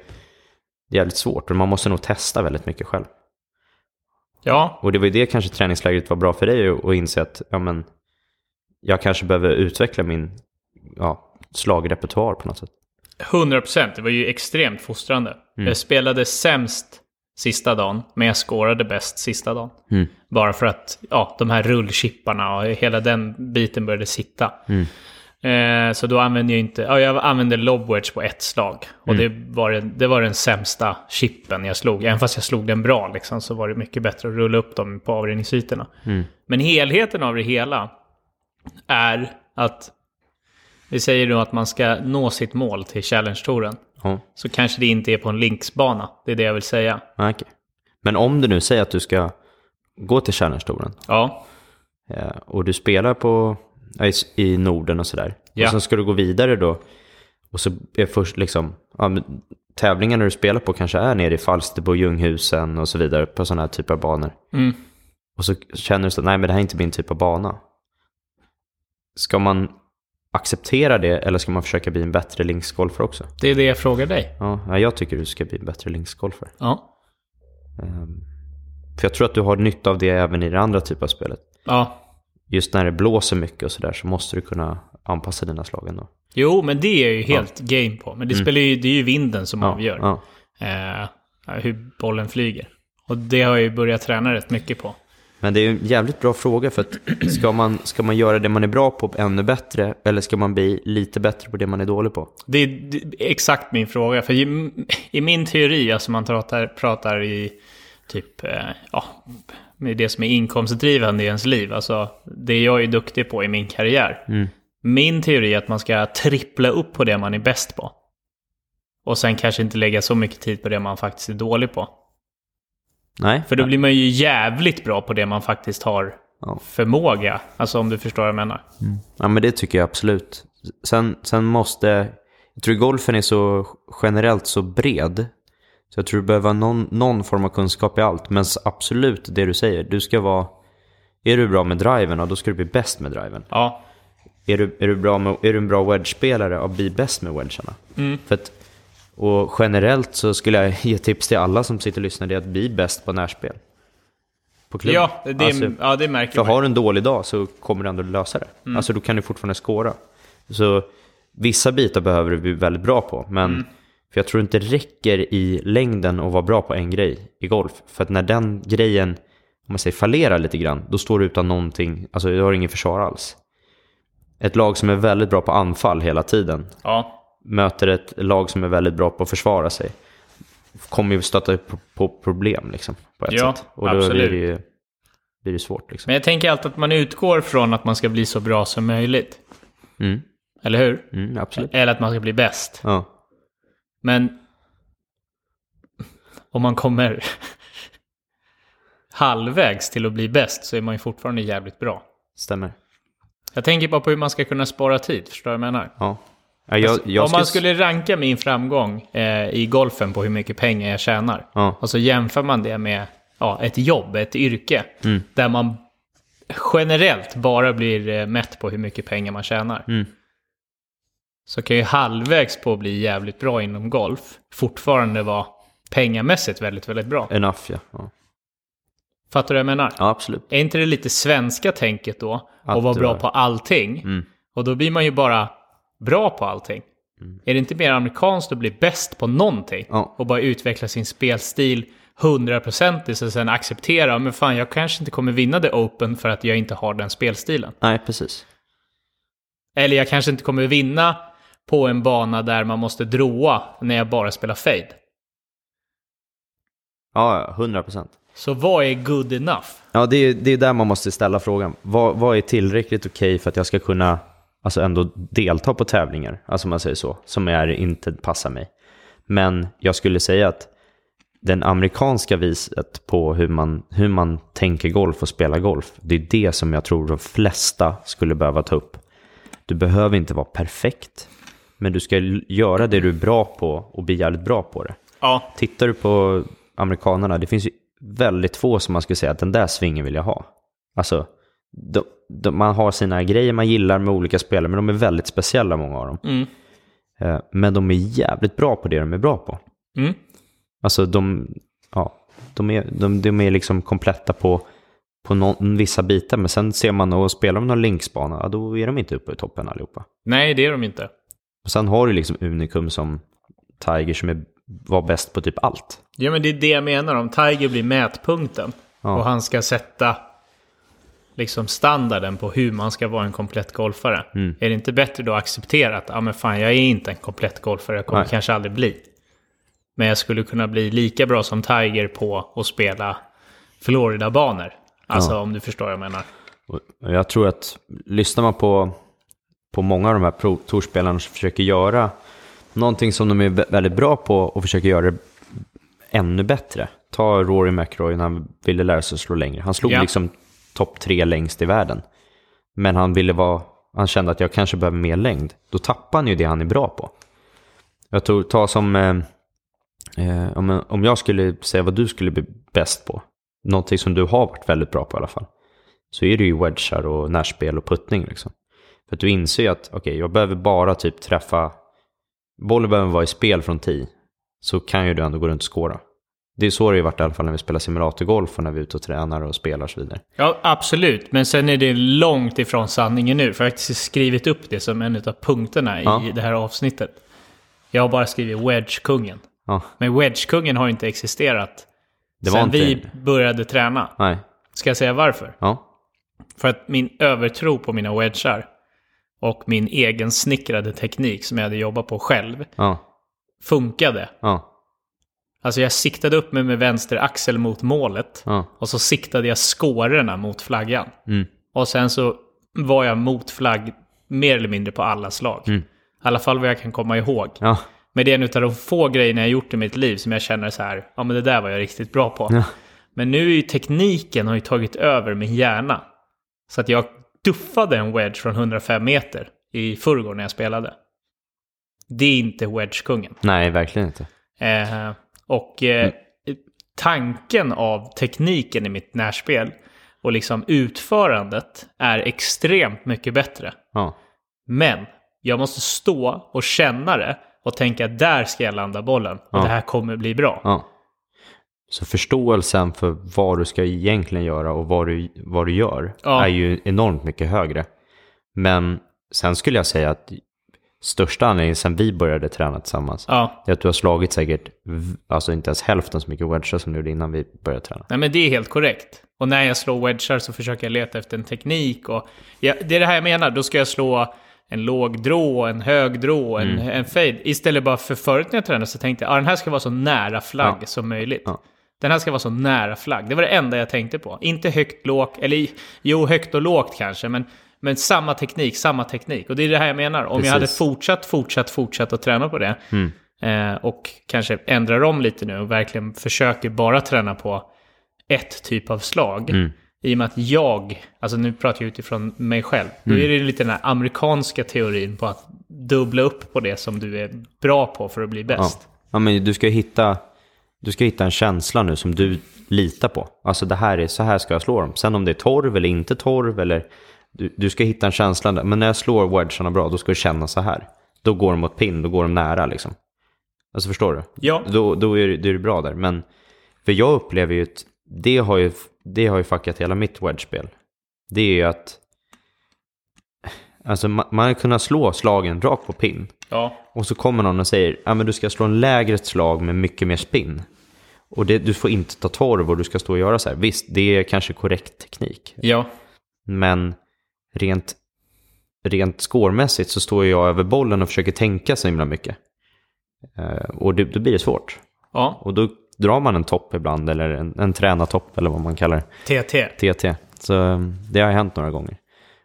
Speaker 2: jävligt svårt, och man måste nog testa väldigt mycket själv.
Speaker 1: ja,
Speaker 2: Och det var ju det kanske träningslägret var bra för dig att att inse att, ja men, jag kanske behöver utveckla min, ja, slagrepertoar på något sätt.
Speaker 1: 100 procent. Det var ju extremt fostrande.
Speaker 2: Mm.
Speaker 1: Jag spelade sämst sista dagen, men jag skårade bäst sista dagen. Bara för att ja, de här rullchipparna och hela den biten började sitta. Eh, så då använde jag inte... Ja, jag använde lobwedge på ett slag. Och det, var den, det var den sämsta chippen jag slog. Även fast jag slog den bra liksom, så var det mycket bättre att rulla upp dem på avrinningsytorna. Men helheten av det hela är att... Vi säger då att man ska nå sitt mål till Challenge-touren.
Speaker 2: Ja,
Speaker 1: Så kanske det inte är på en linksbana. Det är det jag vill säga.
Speaker 2: ah, okej. Men om du nu säger att du ska gå till Kärnenstolen
Speaker 1: Ja,
Speaker 2: eh, och du spelar på, ja, i, s- i Norden och sådär.
Speaker 1: Ja.
Speaker 2: Och sen ska du gå vidare då. Och så är först liksom, ja, men tävlingarna du spelar på kanske är nere i Falsterbo, Ljunghusen och så vidare på sådana här typer av banor.
Speaker 1: Mm.
Speaker 2: Och så känner du så, nej men det här är inte min typ av bana. Ska man acceptera det eller ska man försöka bli en bättre linksgolfare också?
Speaker 1: det är det jag frågar dig.
Speaker 2: Ja, ja, jag tycker du ska bli en bättre linksgolfare.
Speaker 1: Ja,
Speaker 2: Ehm, För jag tror att du har nytta av det även i det andra typen av spelet.
Speaker 1: ja
Speaker 2: Just när det blåser mycket och sådär så måste du kunna anpassa dina slag ändå.
Speaker 1: Jo, men det är ju helt game på. Men det, spelar ju, det är ju vinden som
Speaker 2: Mm. Ja,
Speaker 1: avgör
Speaker 2: ja.
Speaker 1: Eh, hur bollen flyger. Och det har jag ju börjat träna rätt mycket på.
Speaker 2: Men det är ju en jävligt bra fråga för att ska man, ska man göra det man är bra på ännu bättre eller ska man bli lite bättre på det man är dålig på?
Speaker 1: Det är d- exakt min fråga. För i, i min teori, alltså man pratar, pratar i typ, eh, ja, med det som är inkomstdrivande i ens liv. Alltså det jag är duktig på i min karriär.
Speaker 2: Mm.
Speaker 1: Min teori är att man ska trippla upp på det man är bäst på. Och sen kanske inte lägga så mycket tid på det man faktiskt är dålig på.
Speaker 2: Nej,
Speaker 1: För då blir man ju jävligt bra på det man faktiskt har
Speaker 2: Ja.
Speaker 1: förmåga. Alltså om du förstår vad jag menar.
Speaker 2: Ja, men det tycker jag absolut. Sen, sen måste... Jag tror golfen är så generellt så bred. Så jag tror du behöver ha någon, någon form av kunskap i allt. Men s- absolut det du säger. Du ska vara... Är du bra med driven, ja, då ska du bli bäst med driven.
Speaker 1: Ja,
Speaker 2: Är du, är du, bra, med, är du en bra wedge-spelare, ja, bli bäst med wedgarna.
Speaker 1: Mm.
Speaker 2: För att, och generellt så skulle jag ge tips till alla som sitter och lyssnar, det är att bli bäst på närspel. På klubben.
Speaker 1: ja, det,
Speaker 2: Alltså-
Speaker 1: ja, det märker
Speaker 2: för
Speaker 1: man.
Speaker 2: har du en dålig dag så kommer du ändå lösa det.
Speaker 1: Mm.
Speaker 2: Alltså då kan du fortfarande skåra. Så vissa bitar behöver du bli väldigt bra på. Men
Speaker 1: Mm.
Speaker 2: för jag tror inte det räcker i längden att vara bra på en grej i golf. För att när den grejen, om man säger fallerar lite grann, då står du utan någonting. Alltså du har ingen försvar alls. Ett lag som är väldigt bra på anfall hela tiden
Speaker 1: Ja,
Speaker 2: möter ett lag som är väldigt bra på att försvara sig kommer ju stöta på, på problem liksom, på ett
Speaker 1: Ja,
Speaker 2: sätt. Och då blir
Speaker 1: absolut.
Speaker 2: det ju blir det svårt. Liksom.
Speaker 1: men jag tänker alltid att man utgår från att man ska bli så bra som möjligt.
Speaker 2: Mm.
Speaker 1: Eller hur?
Speaker 2: Mm, absolut.
Speaker 1: Eller att man ska bli bäst.
Speaker 2: Ja.
Speaker 1: Men om man kommer halvvägs till att bli bäst så är man ju fortfarande jävligt bra.
Speaker 2: Stämmer.
Speaker 1: Jag tänker bara på hur man ska kunna spara tid, förstår du vad jag menar?
Speaker 2: Ja. Ja, jag, jag
Speaker 1: Alltså, Om man
Speaker 2: Alltså, skulle-
Speaker 1: skulle ranka min framgång eh, i golfen på hur mycket pengar jag tjänar.
Speaker 2: Ja.
Speaker 1: Och så jämför man det med ja, ett jobb, ett yrke.
Speaker 2: Mm.
Speaker 1: Där man generellt bara blir eh, mätt på hur mycket pengar man tjänar.
Speaker 2: Mm.
Speaker 1: Så kan ju halvvägs på att bli jävligt bra inom golf fortfarande vara pengamässigt väldigt, väldigt bra.
Speaker 2: Enough, ja. ja.
Speaker 1: Fattar du vad jag menar?
Speaker 2: Ja, absolut.
Speaker 1: Är inte det lite svenska tänket då?
Speaker 2: Att
Speaker 1: Att vara
Speaker 2: du Mm.
Speaker 1: bra
Speaker 2: är-
Speaker 1: på allting. Och då blir man ju bara bra på allting. Är det inte mer amerikanskt att bli bäst på någonting?
Speaker 2: Ja.
Speaker 1: Och bara utveckla sin spelstil hundraprocentigt och sen acceptera, men fan jag kanske inte kommer vinna det open för att jag inte har den spelstilen.
Speaker 2: Nej, precis.
Speaker 1: Eller jag kanske inte kommer vinna på en bana där man måste droa när jag bara spelar fade.
Speaker 2: Ja, ja, 100 procent.
Speaker 1: Så vad är good enough?
Speaker 2: Ja, det är, det är där man måste ställa frågan. Vad, vad är tillräckligt okej för att jag ska kunna alltså ändå delta på tävlingar, alltså om man säger så, som är inte passar mig. Men jag skulle säga att den amerikanska viset på hur man, hur man tänker golf och spelar golf, det är det som jag tror de flesta skulle behöva ta upp. Du behöver inte vara perfekt, men du ska l- göra det du är bra på och bli jävligt bra på det.
Speaker 1: Ja,
Speaker 2: Tittar du på amerikanerna, det finns ju väldigt få som man skulle säga att den där svingen vill jag ha. Alltså, de, de, man har sina grejer man gillar med olika spelare, men de är väldigt speciella många av dem.
Speaker 1: Mm.
Speaker 2: Eh, Men de är jävligt bra på det de är bra på.
Speaker 1: Mm.
Speaker 2: Alltså de, ja, de, är, de, de är liksom kompletta på, på någon, vissa bitar, men sen ser man och spelar de någon linksbana, ja, då är de inte uppe i toppen allihopa.
Speaker 1: nej det är de inte.
Speaker 2: Och sen har du liksom Unicum som Tiger som är, var bäst på typ allt.
Speaker 1: Ja men det är det jag menar, om Tiger blir mätpunkten och han ska sätta liksom standarden på hur man ska vara en komplett golfare.
Speaker 2: Mm.
Speaker 1: Är det inte bättre då att acceptera att ah, men fan, jag är inte en komplett golfare, jag kommer
Speaker 2: Nej.
Speaker 1: kanske aldrig bli. Men jag skulle kunna bli lika bra som Tiger på att spela Florida-banor. Alltså om du förstår vad jag menar.
Speaker 2: Och Jag tror att lyssnar man på, på många av de här Pro Tour-spelarna som försöker göra någonting som de är vä- väldigt bra på och försöker göra det ännu bättre. Ta Rory McIlroy när han ville lära sig att slå längre. Han slog
Speaker 1: Ja.
Speaker 2: liksom topp tre längst i världen. Men han ville vara, han kände att jag kanske behöver mer längd. Då tappar han ju det han är bra på. Jag tror, ta som, eh, eh, om, om jag skulle säga vad du skulle bli bäst på. Någonting som du har varit väldigt bra på i alla fall så är det ju wedgar och närspel och puttning. Liksom. För att du inser ju att okej, jag behöver bara typ träffa, bollen behöver vara i spel från 10, så kan ju du ändå gå runt och skåra. Det är så det har varit i alla fall när vi spelar simulatorgolf och när vi är ute och tränar och spelar och så vidare.
Speaker 1: Ja, absolut. Men sen är det långt ifrån sanningen nu. För jag har faktiskt skrivit upp det som en av punkterna
Speaker 2: Ja.
Speaker 1: i det här avsnittet. Jag har bara skrivit Wedge-kungen.
Speaker 2: Ja,
Speaker 1: Men Wedge-kungen har inte existerat
Speaker 2: Det var
Speaker 1: sen
Speaker 2: inte-
Speaker 1: vi började träna.
Speaker 2: nej,
Speaker 1: Ska jag säga varför?
Speaker 2: ja,
Speaker 1: För att min övertro på mina wedgar och min egen snickrade teknik som jag hade jobbat på själv
Speaker 2: ja,
Speaker 1: funkade.
Speaker 2: ja,
Speaker 1: Alltså jag siktade upp mig med vänster axel mot målet
Speaker 2: ja,
Speaker 1: och så siktade jag skårorna mot flaggan.
Speaker 2: mm,
Speaker 1: Och sen så var jag mot flagg mer eller mindre på alla slag.
Speaker 2: Mm.
Speaker 1: I alla fall vad jag kan komma ihåg.
Speaker 2: ja,
Speaker 1: Men det är en utav de få grejerna jag gjort i mitt liv som jag känner så här, ja men det där var jag riktigt bra på.
Speaker 2: Ja.
Speaker 1: Men nu är ju tekniken har ju tagit över min hjärna. Så att jag duffade en wedge från 105 meter i förrgår när jag spelade. Det är inte wedge-kungen.
Speaker 2: nej, verkligen inte.
Speaker 1: Eh, och eh, tanken av tekniken i mitt närspel och liksom utförandet är extremt mycket bättre.
Speaker 2: Ja,
Speaker 1: Men jag måste stå och känna det och tänka att där ska jag landa bollen och
Speaker 2: Ja.
Speaker 1: det här kommer bli bra.
Speaker 2: ja. Så förståelsen för vad du ska egentligen göra och vad du, vad du gör
Speaker 1: Ja.
Speaker 2: är ju enormt mycket högre. Men sen skulle jag säga att största anledningen sen vi började träna tillsammans
Speaker 1: Ja,
Speaker 2: är att du har slagit säkert, v- alltså inte ens hälften så mycket wedgar som du gjorde innan vi började träna.
Speaker 1: nej men det är helt korrekt. Och när jag slår wedgar så försöker jag leta efter en teknik och ja, det är det här jag menar, då ska jag slå en låg drå, en hög drå, en,
Speaker 2: Mm.
Speaker 1: en fade. Istället bara för förut när jag tränade så tänkte jag ah, den här ska vara så nära flagg som möjligt.
Speaker 2: Ja.
Speaker 1: Den här ska vara så nära flagg. Det var det enda jag tänkte på. Inte högt, lågt, eller jo, högt och lågt kanske, men, men samma teknik, samma teknik. Och det är det här jag menar. Om jag
Speaker 2: Precis.
Speaker 1: hade fortsatt, fortsatt, fortsatt att träna på det eh, och kanske ändrar om lite nu och verkligen försöker bara träna på ett typ av slag. I och med att jag, alltså nu pratar jag utifrån mig själv, då är det ju lite den här amerikanska teorin på att dubbla upp på det som du är bra på för att bli
Speaker 2: Ja.
Speaker 1: bäst.
Speaker 2: ja, men du ska ju hitta, du ska hitta en känsla nu som du litar på. Alltså det här är, så här ska jag slå dem. Sen om det är torv eller inte torv eller, du, du ska hitta en känsla där. Men när jag slår wedgarna bra, då ska du känna så här. Då går de mot pin, då går de nära liksom. Alltså förstår du?
Speaker 1: Ja.
Speaker 2: Då, då är det, då är det bra där. Men, för jag upplever ju att det har ju, det har ju fuckat hela mitt wedge-spel. Det är ju att, alltså man, man har kunnat slå slagen rakt på pin.
Speaker 1: Ja.
Speaker 2: Och så kommer någon och säger ah, men du ska slå en lägre slag med mycket mer spinn. Och det, du får inte ta torv och du ska stå och göra så här. Visst, det är kanske korrekt teknik.
Speaker 1: Ja.
Speaker 2: Men rent, rent skårmässigt så står jag över bollen och försöker tänka så himla mycket. Eh, och det, då blir det svårt.
Speaker 1: Ja.
Speaker 2: Och då drar man en topp ibland, eller en, en tränartopp eller vad man kallar det.
Speaker 1: TT.
Speaker 2: TT. Så um, det har hänt några gånger.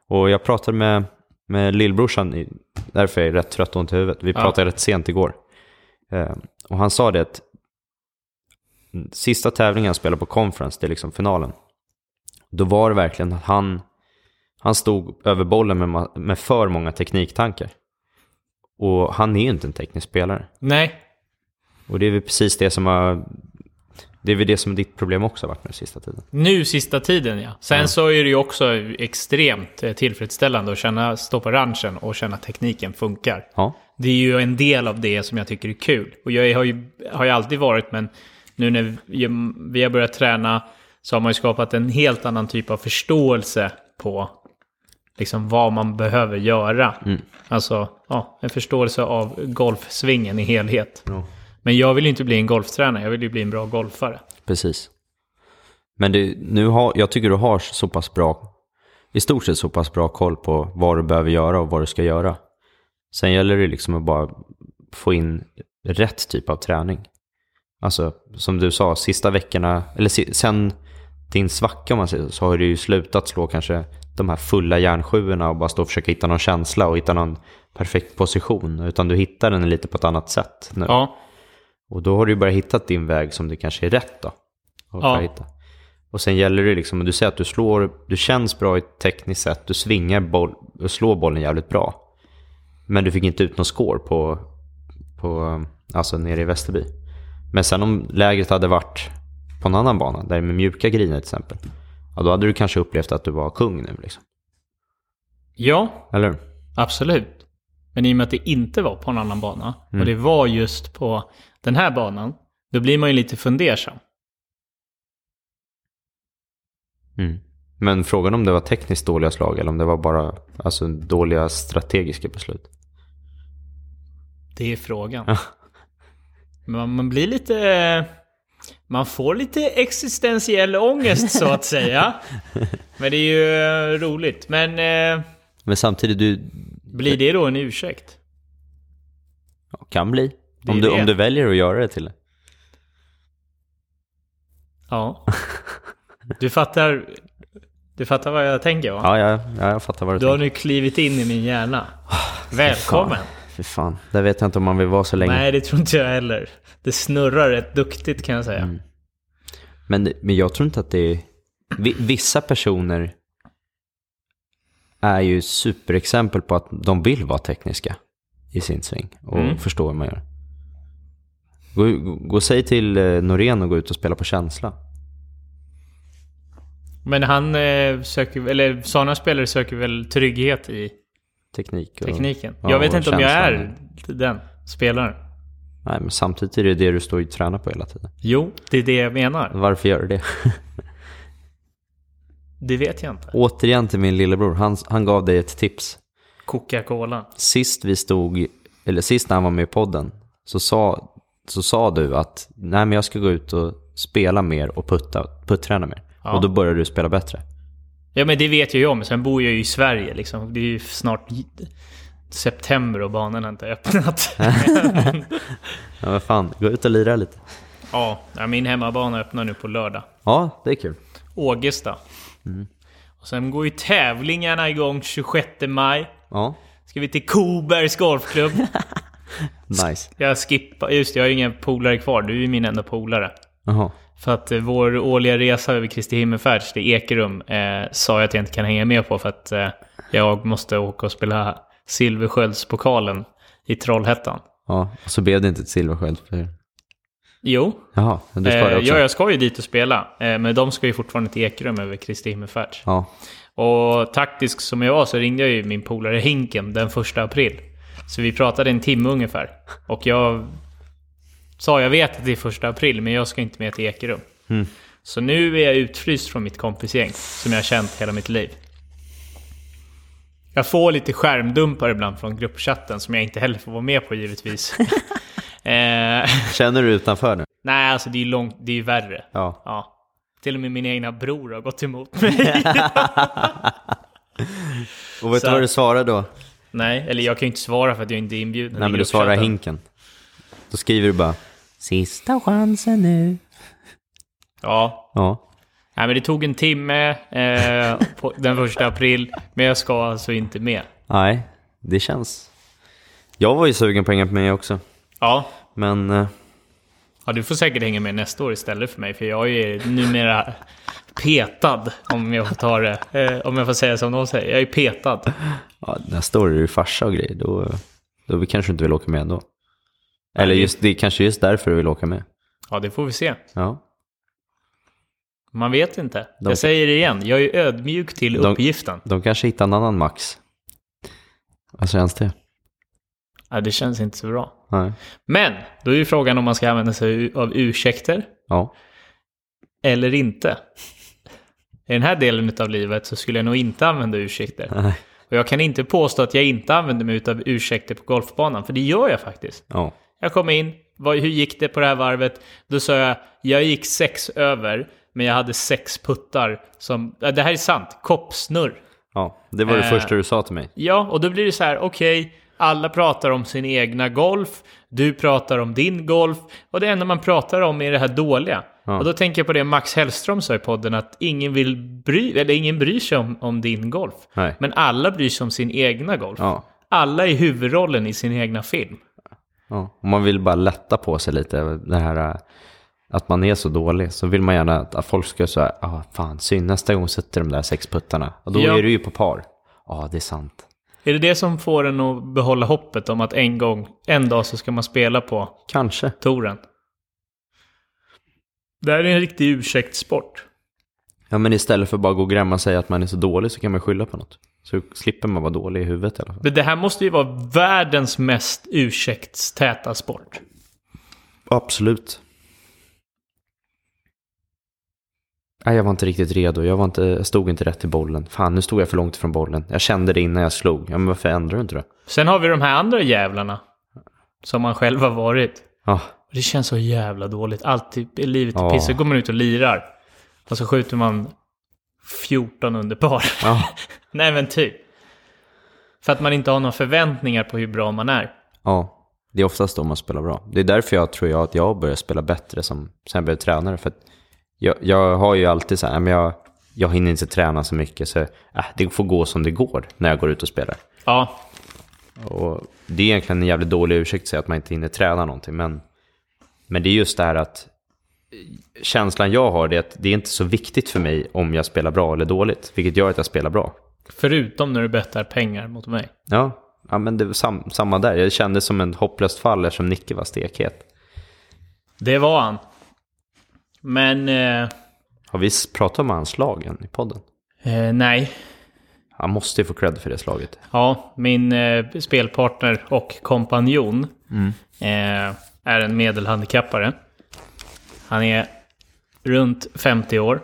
Speaker 2: Och jag pratade med, med lillbrorsan, i- därför är jag rätt trött och ont i huvudet. Vi pratade rätt sent igår. Um, Och han sa det att mm, sista tävlingen han spelade på conference, det är liksom finalen. Då var det verkligen att han, han stod över bollen med, ma- med för många tekniktankar. Och han är ju inte en teknisk spelare.
Speaker 1: Nej.
Speaker 2: Och det är väl precis det som har, det är väl det som ditt problem också har varit nu sista tiden.
Speaker 1: Nu sista tiden ja. Sen så är det ju också extremt eh, tillfredsställande att känna, stå på ranchen och känna tekniken funkar.
Speaker 2: Ja,
Speaker 1: Det är ju en del av det som jag tycker är kul. Och jag har ju, har ju alltid varit, men nu när vi- vi har börjat träna så har man ju skapat en helt annan typ av förståelse på liksom vad man behöver göra. Alltså, ja, en förståelse av golfsvingen i helhet. Men jag vill ju inte bli en golftränare, jag vill ju bli en bra golfare.
Speaker 2: Precis. Men du, nu har, jag tycker du har så pass bra i stort sett så pass bra koll på vad du behöver göra och vad du ska göra. Sen gäller det liksom att bara få in rätt typ av träning. Alltså som du sa, sista veckorna, eller si- sen din svacka om man säger så, så har du ju slutat slå kanske de här fulla järnsjuorna och bara stå och försöka hitta någon känsla och hitta någon perfekt position. Utan du hittar den lite på ett annat sätt nu.
Speaker 1: Ja,
Speaker 2: Och då har du ju bara hittat din väg som det kanske är rätt då. Och,
Speaker 1: Ja.
Speaker 2: ja. hitta. och sen gäller det liksom, och du säger att du slår, du känns bra i tekniskt sätt, du svingar boll, och slår bollen jävligt bra. Men du fick inte ut någon score på, på, um, alltså nere i Västerby. Men sen om lägret hade varit på en annan bana, där med mjuka griner till exempel. Ja, då hade du kanske upplevt att du var kung nu liksom.
Speaker 1: ja
Speaker 2: Eller hur?
Speaker 1: absolut. Men i och med att det inte var på en annan bana och det var just på den här banan, då blir man ju lite fundersam.
Speaker 2: Mm. Men frågan om det var tekniskt dåliga slag eller om det var bara alltså, dåliga strategiska beslut.
Speaker 1: Det är frågan.
Speaker 2: Ja.
Speaker 1: Men man, man blir lite... Man får lite existentiell ångest så att säga. Men det är ju eh, roligt. Men eh,
Speaker 2: Men samtidigt, du,
Speaker 1: blir det då en ursäkt?
Speaker 2: Ja, kan bli.
Speaker 1: Det är
Speaker 2: Om du,
Speaker 1: det.
Speaker 2: om du väljer att göra det till det.
Speaker 1: Ja. Du fattar... Du fattar vad jag tänker va?
Speaker 2: Ja, ja, ja jag fattar vad du
Speaker 1: Du har
Speaker 2: tänker. Ah,
Speaker 1: nu klivit in i min hjärna. Välkommen!
Speaker 2: Fy fan, där vet jag inte om man vill vara så länge.
Speaker 1: Nej, det tror inte jag heller. Det snurrar rätt duktigt kan jag säga.
Speaker 2: Mm. Men, men jag tror inte att det är... vi- Vissa personer är ju superexempel på att de vill vara tekniska i sin sving och
Speaker 1: Mm.
Speaker 2: förstå hur man gör. Gå, gå, gå säg till eh, Norén och gå ut och spela på känsla.
Speaker 1: Men han eh, söker... Eller sådana spelare söker väl trygghet i
Speaker 2: Teknik. Och,
Speaker 1: tekniken.
Speaker 2: ja,
Speaker 1: jag vet
Speaker 2: och
Speaker 1: inte om jag är
Speaker 2: känslan.
Speaker 1: den spelaren.
Speaker 2: Nej, men samtidigt är det det du står och tränar på hela tiden.
Speaker 1: Jo, det är det jag menar.
Speaker 2: Varför gör du det?
Speaker 1: Det vet jag inte.
Speaker 2: Återigen till min lillebror, han, han gav dig ett tips.
Speaker 1: Coca-Cola.
Speaker 2: Sist vi stod, eller sist när han var med i podden, så sa, så sa du att nej men jag ska gå ut och spela mer och putta, putträna mer.
Speaker 1: Ja.
Speaker 2: Och då började du spela bättre.
Speaker 1: Ja, men det vet ju jag om. Sen bor jag ju i Sverige liksom. Det är ju snart september och banan har inte öppnat.
Speaker 2: Ja vad fan, gå ut och lira lite.
Speaker 1: ja, ja, min hemmabana öppnar nu på lördag.
Speaker 2: Ja, det är kul.
Speaker 1: Ågesta.
Speaker 2: Mm.
Speaker 1: Och sen går ju tävlingarna igång 26 maj.
Speaker 2: Ja,
Speaker 1: Ska vi till Kobergs Golfklubb.
Speaker 2: nice.
Speaker 1: jag skippar... Just det, jag har ju ingen polare kvar. Du är ju min enda polare.
Speaker 2: Jaha.
Speaker 1: För att eh, vår årliga resa över Kristi himmelfärds till Ekerum eh, sa jag att jag inte kan hänga med på för att eh, jag måste åka och spela Silverskjöldspokalen i Trollhättan.
Speaker 2: Ja, och så blev det inte ett silverskjöld. för-
Speaker 1: Jo,
Speaker 2: Jaha, men du
Speaker 1: eh,
Speaker 2: svarade också.
Speaker 1: ja, jag ska ju dit och spela, eh, men de ska ju fortfarande till Ekerum över Kristi himmelfärds.
Speaker 2: Ja,
Speaker 1: Och taktisk som jag var så ringde jag ju min polare Hinken den första april. Så vi pratade en timme ungefär. Och jag sa jag vet att det är första april men jag ska inte med till Ekerum. Så nu är jag utfryst från mitt kompisgäng som jag har känt hela mitt liv. Jag får lite skärmdumpar ibland från gruppchatten som jag inte heller får vara med på givetvis. eh,
Speaker 2: känner du utanför nu?
Speaker 1: nej, alltså det är ju långt, det är ju värre.
Speaker 2: Ja.
Speaker 1: Ja. Till och med min egna bror har gått emot mig.
Speaker 2: Och vet
Speaker 1: Så
Speaker 2: du vad
Speaker 1: att-
Speaker 2: du svarade då?
Speaker 1: Nej, eller jag kan ju inte svara för att jag inte är inbjuden.
Speaker 2: Nej
Speaker 1: i
Speaker 2: men du svarar
Speaker 1: gruppchatten.
Speaker 2: hinken. Då skriver du bara “Sista chansen nu”.
Speaker 1: Ja.
Speaker 2: Ja.
Speaker 1: Nej, men det tog en timme eh, på den första april, men jag ska alltså inte med.
Speaker 2: Nej, det känns. Jag var ju sugen på att hänga med också.
Speaker 1: Ja.
Speaker 2: Men eh,
Speaker 1: ja, du får säkert hänga med nästa år istället för mig, för jag är numera petad, om jag får ta det. Eh, om jag får säga som de säger, jag är petad.
Speaker 2: ja, nästa år är det ju farsa och grejer. Då, då vi kanske inte vill åka med ändå. Eller just, det är kanske just därför du vill åka med.
Speaker 1: Ja, det får vi se.
Speaker 2: Ja.
Speaker 1: Man vet inte.
Speaker 2: De-
Speaker 1: Jag säger det igen, jag är ödmjuk till
Speaker 2: De-
Speaker 1: uppgiften.
Speaker 2: De kanske hittar en annan Max. Vad känns det?
Speaker 1: Ja, det känns inte så bra.
Speaker 2: Nej.
Speaker 1: Men, då är ju frågan om man ska använda sig av ursäkter.
Speaker 2: Ja.
Speaker 1: eller inte. I den här delen av livet så skulle jag nog inte använda ursäkter.
Speaker 2: Nej.
Speaker 1: Och jag kan inte påstå att jag inte använder mig av ursäkter på golfbanan, för det gör jag faktiskt.
Speaker 2: Ja.
Speaker 1: Jag kom in, vad, hur gick det på det här varvet? Då sa jag, jag gick sex över, men jag hade sex puttar som... Ja, Det här är sant, koppsnurr.
Speaker 2: Ja, det var det
Speaker 1: Eh.
Speaker 2: första du sa till mig.
Speaker 1: Ja, och då blir det så här, okej, alla pratar om sin egna golf, du pratar om din golf, och det enda man pratar om är det här dåliga.
Speaker 2: Ja.
Speaker 1: Och då tänker jag på det Max Hellström sa i podden, att ingen, vill bry, eller ingen bryr sig om, om din golf.
Speaker 2: Nej.
Speaker 1: Men alla bryr sig om sin egna golf.
Speaker 2: Ja.
Speaker 1: Alla är huvudrollen i sin egna film.
Speaker 2: Ja, om man vill bara lätta på sig lite, det här eh, att man är så dålig, så vill man gärna att att folk ska säga, ah, fan, synd, nästa gång sätter de där sex puttarna. Och då
Speaker 1: Ja.
Speaker 2: är du ju på par. Ja, det är sant.
Speaker 1: Är det det som får en att behålla hoppet om att en gång, en dag så ska man spela på
Speaker 2: Kanske.
Speaker 1: touren? Det här är en riktig ursäktssport.
Speaker 2: Ja, men istället för att bara gå och grämma sig att man är så dålig så kan man skylla på något. Så slipper man vara dålig i huvudet i alla fall.
Speaker 1: Men det här måste ju vara världens mest ursäktstäta sport.
Speaker 2: Absolut. Nej, jag var inte riktigt redo. Jag, var inte, jag stod inte rätt i bollen. Fan, nu stod jag för långt ifrån bollen. Jag kände det innan jag slog. Ja, men varför ändrar du inte det?
Speaker 1: Sen har vi de här andra jävlarna. Som man själv har varit.
Speaker 2: Ja,
Speaker 1: Det känns så jävla dåligt. Alltid i livet är
Speaker 2: Ja.
Speaker 1: piss. Så går man ut och lirar. Och så skjuter man 14 under par.
Speaker 2: ja.
Speaker 1: Nej men typ. För att man inte har några förväntningar på hur bra man är.
Speaker 2: Ja, det är oftast då man spelar bra. Det är därför jag tror jag att jag börjar spela bättre som, sen jag blev tränare. För att jag, jag har ju alltid så här, "Nej, men jag, jag hinner inte träna så mycket så äh, det får gå som det går när jag går ut och spelar.
Speaker 1: Ja,
Speaker 2: Och det är egentligen en jävligt dålig ursäkt att säga att man inte hinner träna någonting. Men, men det är just det här att eh, känslan jag har det är att det är inte så viktigt för mig om jag spelar bra eller dåligt. Vilket gör att jag spelar bra.
Speaker 1: förutom när du bettar pengar mot mig.
Speaker 2: Ja, ja men det var sam, samma där. Jag kände som en hopplöst fall eftersom Nicke var stekhet.
Speaker 1: Det var han. Men eh,
Speaker 2: Har vi pratat om hans slag än i podden?
Speaker 1: eh, nej,
Speaker 2: Han måste ju få cred för det slaget.
Speaker 1: Ja, min eh, spelpartner och kompanjon eh, är en medelhandikappare. Han är runt 50 år.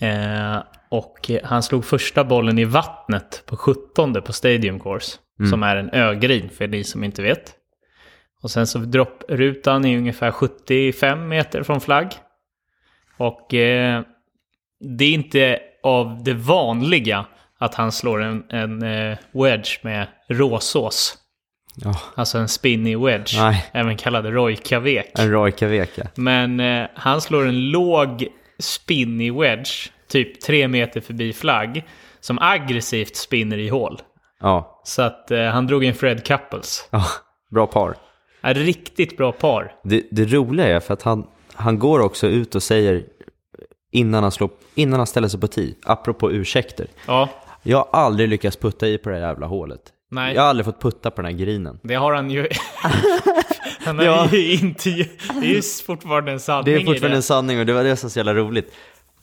Speaker 1: Eh, och eh, han slog första bollen i vattnet på 17 på Stadium Course,
Speaker 2: Mm.
Speaker 1: som är en ögrin för ni som inte vet. Och sen så dropprutan är ungefär 75 meter från flagg. Och eh, det är inte av det vanliga att han slår en, en eh, wedge med råsås.
Speaker 2: Ja,
Speaker 1: Alltså en spinny wedge,
Speaker 2: Nej.
Speaker 1: även kallad rojkavek.
Speaker 2: en rojka veka.
Speaker 1: Men eh, han slår en låg spinny wedge, typ tre meter förbi flagg, som aggressivt spinner i hål.
Speaker 2: Ja,
Speaker 1: Så att eh, han drog in Fred Couples.
Speaker 2: ja, bra par.
Speaker 1: Ett riktigt bra par.
Speaker 2: Det, det roliga är för att han, han går också ut och säger innan han, slår, innan han ställer sig på tee, apropå ursäkter.
Speaker 1: Ja,
Speaker 2: Jag har aldrig lyckats putta i på det här jävla hålet.
Speaker 1: Nej.
Speaker 2: Jag har aldrig fått putta på den här grinen.
Speaker 1: det har han ju... han har
Speaker 2: Ja.
Speaker 1: ju inte... Det är ju fortfarande en sanning
Speaker 2: Det är
Speaker 1: i
Speaker 2: fortfarande
Speaker 1: det.
Speaker 2: en sanning och det var det som var så jävla roligt.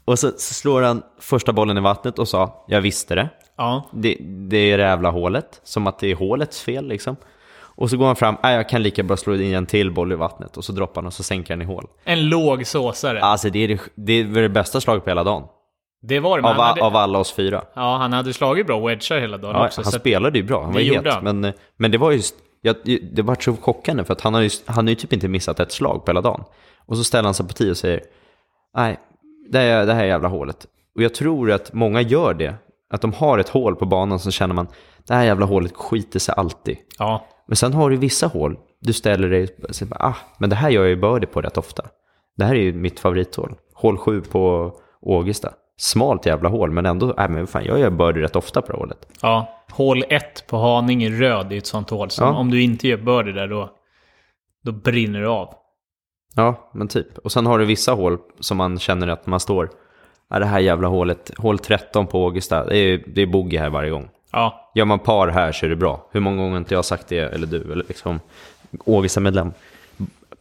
Speaker 2: Och så så slår han första bollen i vattnet och sa “Jag visste det”.
Speaker 1: Ja,
Speaker 2: det, det är det jävla hålet, som att det är hålets fel liksom. Och så går han fram, nej jag kan lika bra slå in en till boll i vattnet och så droppar han och så sänker han i hål.
Speaker 1: en låg såsare.
Speaker 2: Alltså det är det, det, var det bästa slaget på hela dagen.
Speaker 1: Det var det, men
Speaker 2: Av,
Speaker 1: han hade,
Speaker 2: av alla oss fyra.
Speaker 1: Ja, han hade slagit bra wedgar hela dagen
Speaker 2: Ja,
Speaker 1: också.
Speaker 2: han
Speaker 1: så att-
Speaker 2: spelade ju bra, han var
Speaker 1: Det
Speaker 2: ju
Speaker 1: gjorde
Speaker 2: het.
Speaker 1: han.
Speaker 2: Men, men det var just, jag, det var så chockande för att han har, ju, han har ju typ inte missat ett slag på hela dagen. Och så ställer han sig på tio och säger, nej det här, det här jävla hålet. Och jag tror att många gör det, att de har ett hål på banan så känner man, det här jävla hålet skiter sig alltid.
Speaker 1: Ja,
Speaker 2: Men sen har du vissa hål, du ställer dig och säger ah, men det här gör jag ju birdie på rätt ofta. Det här är ju mitt favorithål. Hål 7 på Ågesta. Smalt jävla hål, men ändå, nej men fan, jag gör birdie rätt ofta på det här hålet.
Speaker 1: ja. Hål 1 på Haninge röd är ett sånt hål. Så
Speaker 2: Ja.
Speaker 1: om du inte gör birdie där då, då brinner det av.
Speaker 2: Ja, men typ. Och sen har du vissa hål som man känner att man står, ah, det här jävla hålet, hål 13 på Ågesta, det är, det är bogey här varje gång.
Speaker 1: Ja,
Speaker 2: Gör man par här så är det bra. Hur många gånger har inte jag sagt det, eller du, eller liksom Ågesta-medlem.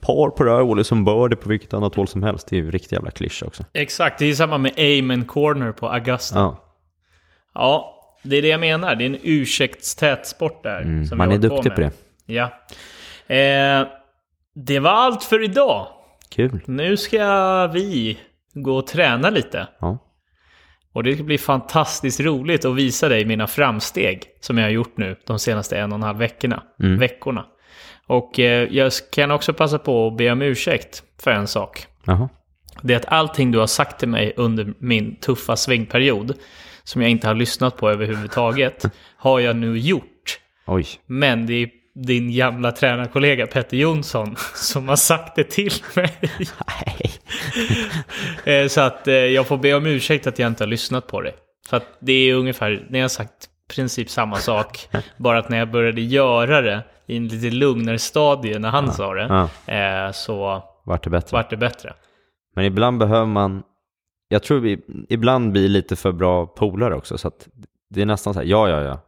Speaker 2: Par på det här hålet som birdie på vilket annat hål som helst, det är ju riktigt jävla klyscha också.
Speaker 1: exakt. Det är samma med aim and corner på Augusta. Ja,
Speaker 2: Ja.
Speaker 1: det är det jag menar. Det är en ursäktstät sport där. som vi
Speaker 2: Mm, man är
Speaker 1: håller
Speaker 2: duktig på
Speaker 1: med. Ja. Eh, det var allt för idag.
Speaker 2: Kul.
Speaker 1: Nu ska vi gå och träna lite.
Speaker 2: Ja.
Speaker 1: Och det ska bli fantastiskt roligt att visa dig mina framsteg som jag har gjort nu de senaste en och en halv veckorna. veckorna. Och eh, jag kan också passa på att be om ursäkt för en sak.
Speaker 2: Jaha.
Speaker 1: Det är att allting du har sagt till mig under min tuffa svingperiod som jag inte har lyssnat på överhuvudtaget, har jag nu gjort.
Speaker 2: Oj.
Speaker 1: Men det är din gamla tränarkollega Petter Jonsson som har sagt det till mig.
Speaker 2: Nej.
Speaker 1: Eh, Så att eh, jag får be om ursäkt att jag inte har lyssnat på det. För att det är ungefär, ni har sagt i princip samma sak, bara att när jag började göra det i en lite lugnare stadie när han sa det,
Speaker 2: Ja,
Speaker 1: eh, så
Speaker 2: vart det bättre.
Speaker 1: vart det bättre.
Speaker 2: Men ibland behöver man, jag tror vi ibland blir lite för bra polare också så att det är nästan så här, ja ja ja,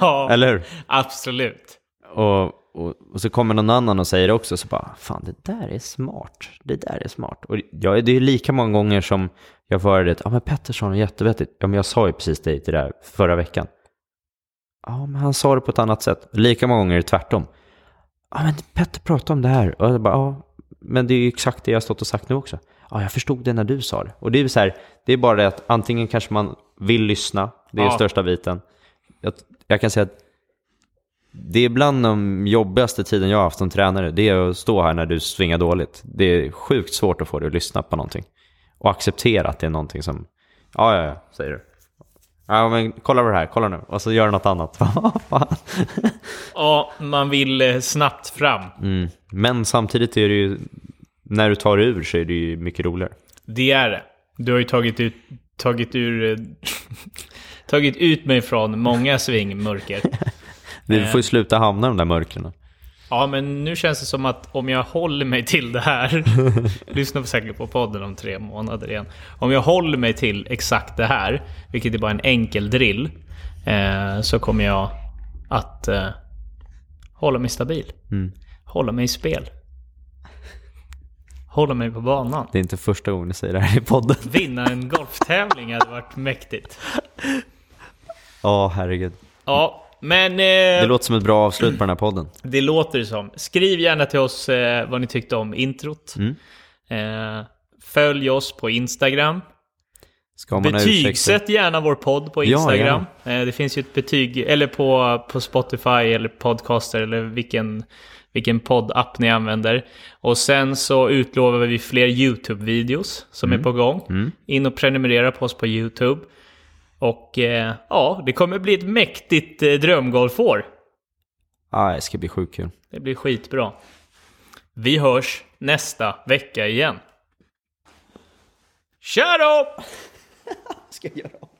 Speaker 1: ja,
Speaker 2: eller hur?
Speaker 1: absolut.
Speaker 2: Och, och, och så kommer någon annan och säger det också, så bara, fan det där är smart, det där är smart. Och jag, det är lika många gånger som jag får höra det, ja men Pettersson är jättevettigt, ja men jag sa ju precis det till det där förra veckan. Ja men han sa det på ett annat sätt, lika många gånger är det tvärtom. Ja men Petter pratade om det här, och jag bara, ja men det är ju exakt det jag har stått och sagt nu också. Ja jag förstod det när du sa det. Och det är ju så här, det är bara det att antingen kanske man vill lyssna, det är
Speaker 1: Ja.
Speaker 2: största biten. Jag, jag kan säga att det är bland de jobbigaste tiden jag har haft som tränare. Det är att stå här när du svingar dåligt. Det är sjukt svårt att få dig att lyssna på någonting. Och acceptera att det är någonting som... Ja, ja, ja, säger du. Ja, men kolla på det här, kolla nu. Och så gör du något annat. Vad fan?
Speaker 1: Ja, man vill eh, snabbt fram.
Speaker 2: mm. Men samtidigt är det ju... När du tar dig ur så är det ju mycket roligare.
Speaker 1: Det är det. Du har ju tagit ut, tagit ur, eh, tagit ut mig från många svingmörker.
Speaker 2: Du får ju sluta hamna i de där mörkren.
Speaker 1: Ja, men nu känns det som att om jag håller mig till det här, lyssna på säkert på podden om tre månader igen. Om jag håller mig till exakt det här, vilket är bara en enkel drill, eh, så kommer jag att eh, hålla mig stabil. Hålla mig i spel. Hålla mig på banan.
Speaker 2: Det är inte första gången du säger det här i podden.
Speaker 1: Vinna en golftävling hade varit mäktigt.
Speaker 2: Ja, herregud.
Speaker 1: Ja, men eh,
Speaker 2: Det låter som ett bra avslut på den här podden.
Speaker 1: det låter det som. Skriv gärna till oss eh, vad ni tyckte om introt.
Speaker 2: Mm.
Speaker 1: Eh, följ oss på Instagram.
Speaker 2: Ska man ha ursäkter?
Speaker 1: Betygsätt gärna vår podd på Instagram. Eh, det finns ju ett betyg, eller på, på Spotify eller Podcaster eller vilken, vilken poddapp ni använder. Och sen så utlovar vi fler YouTube-videos som
Speaker 2: Mm.
Speaker 1: är på gång. In och prenumerera på oss på YouTube. Och eh, ja, det kommer bli ett mäktigt eh, drömgolfår.
Speaker 2: Ah, det ska bli sjukt kul.
Speaker 1: Det blir skitbra. Vi hörs nästa vecka igen. Tja då!
Speaker 2: Ska jag göra om?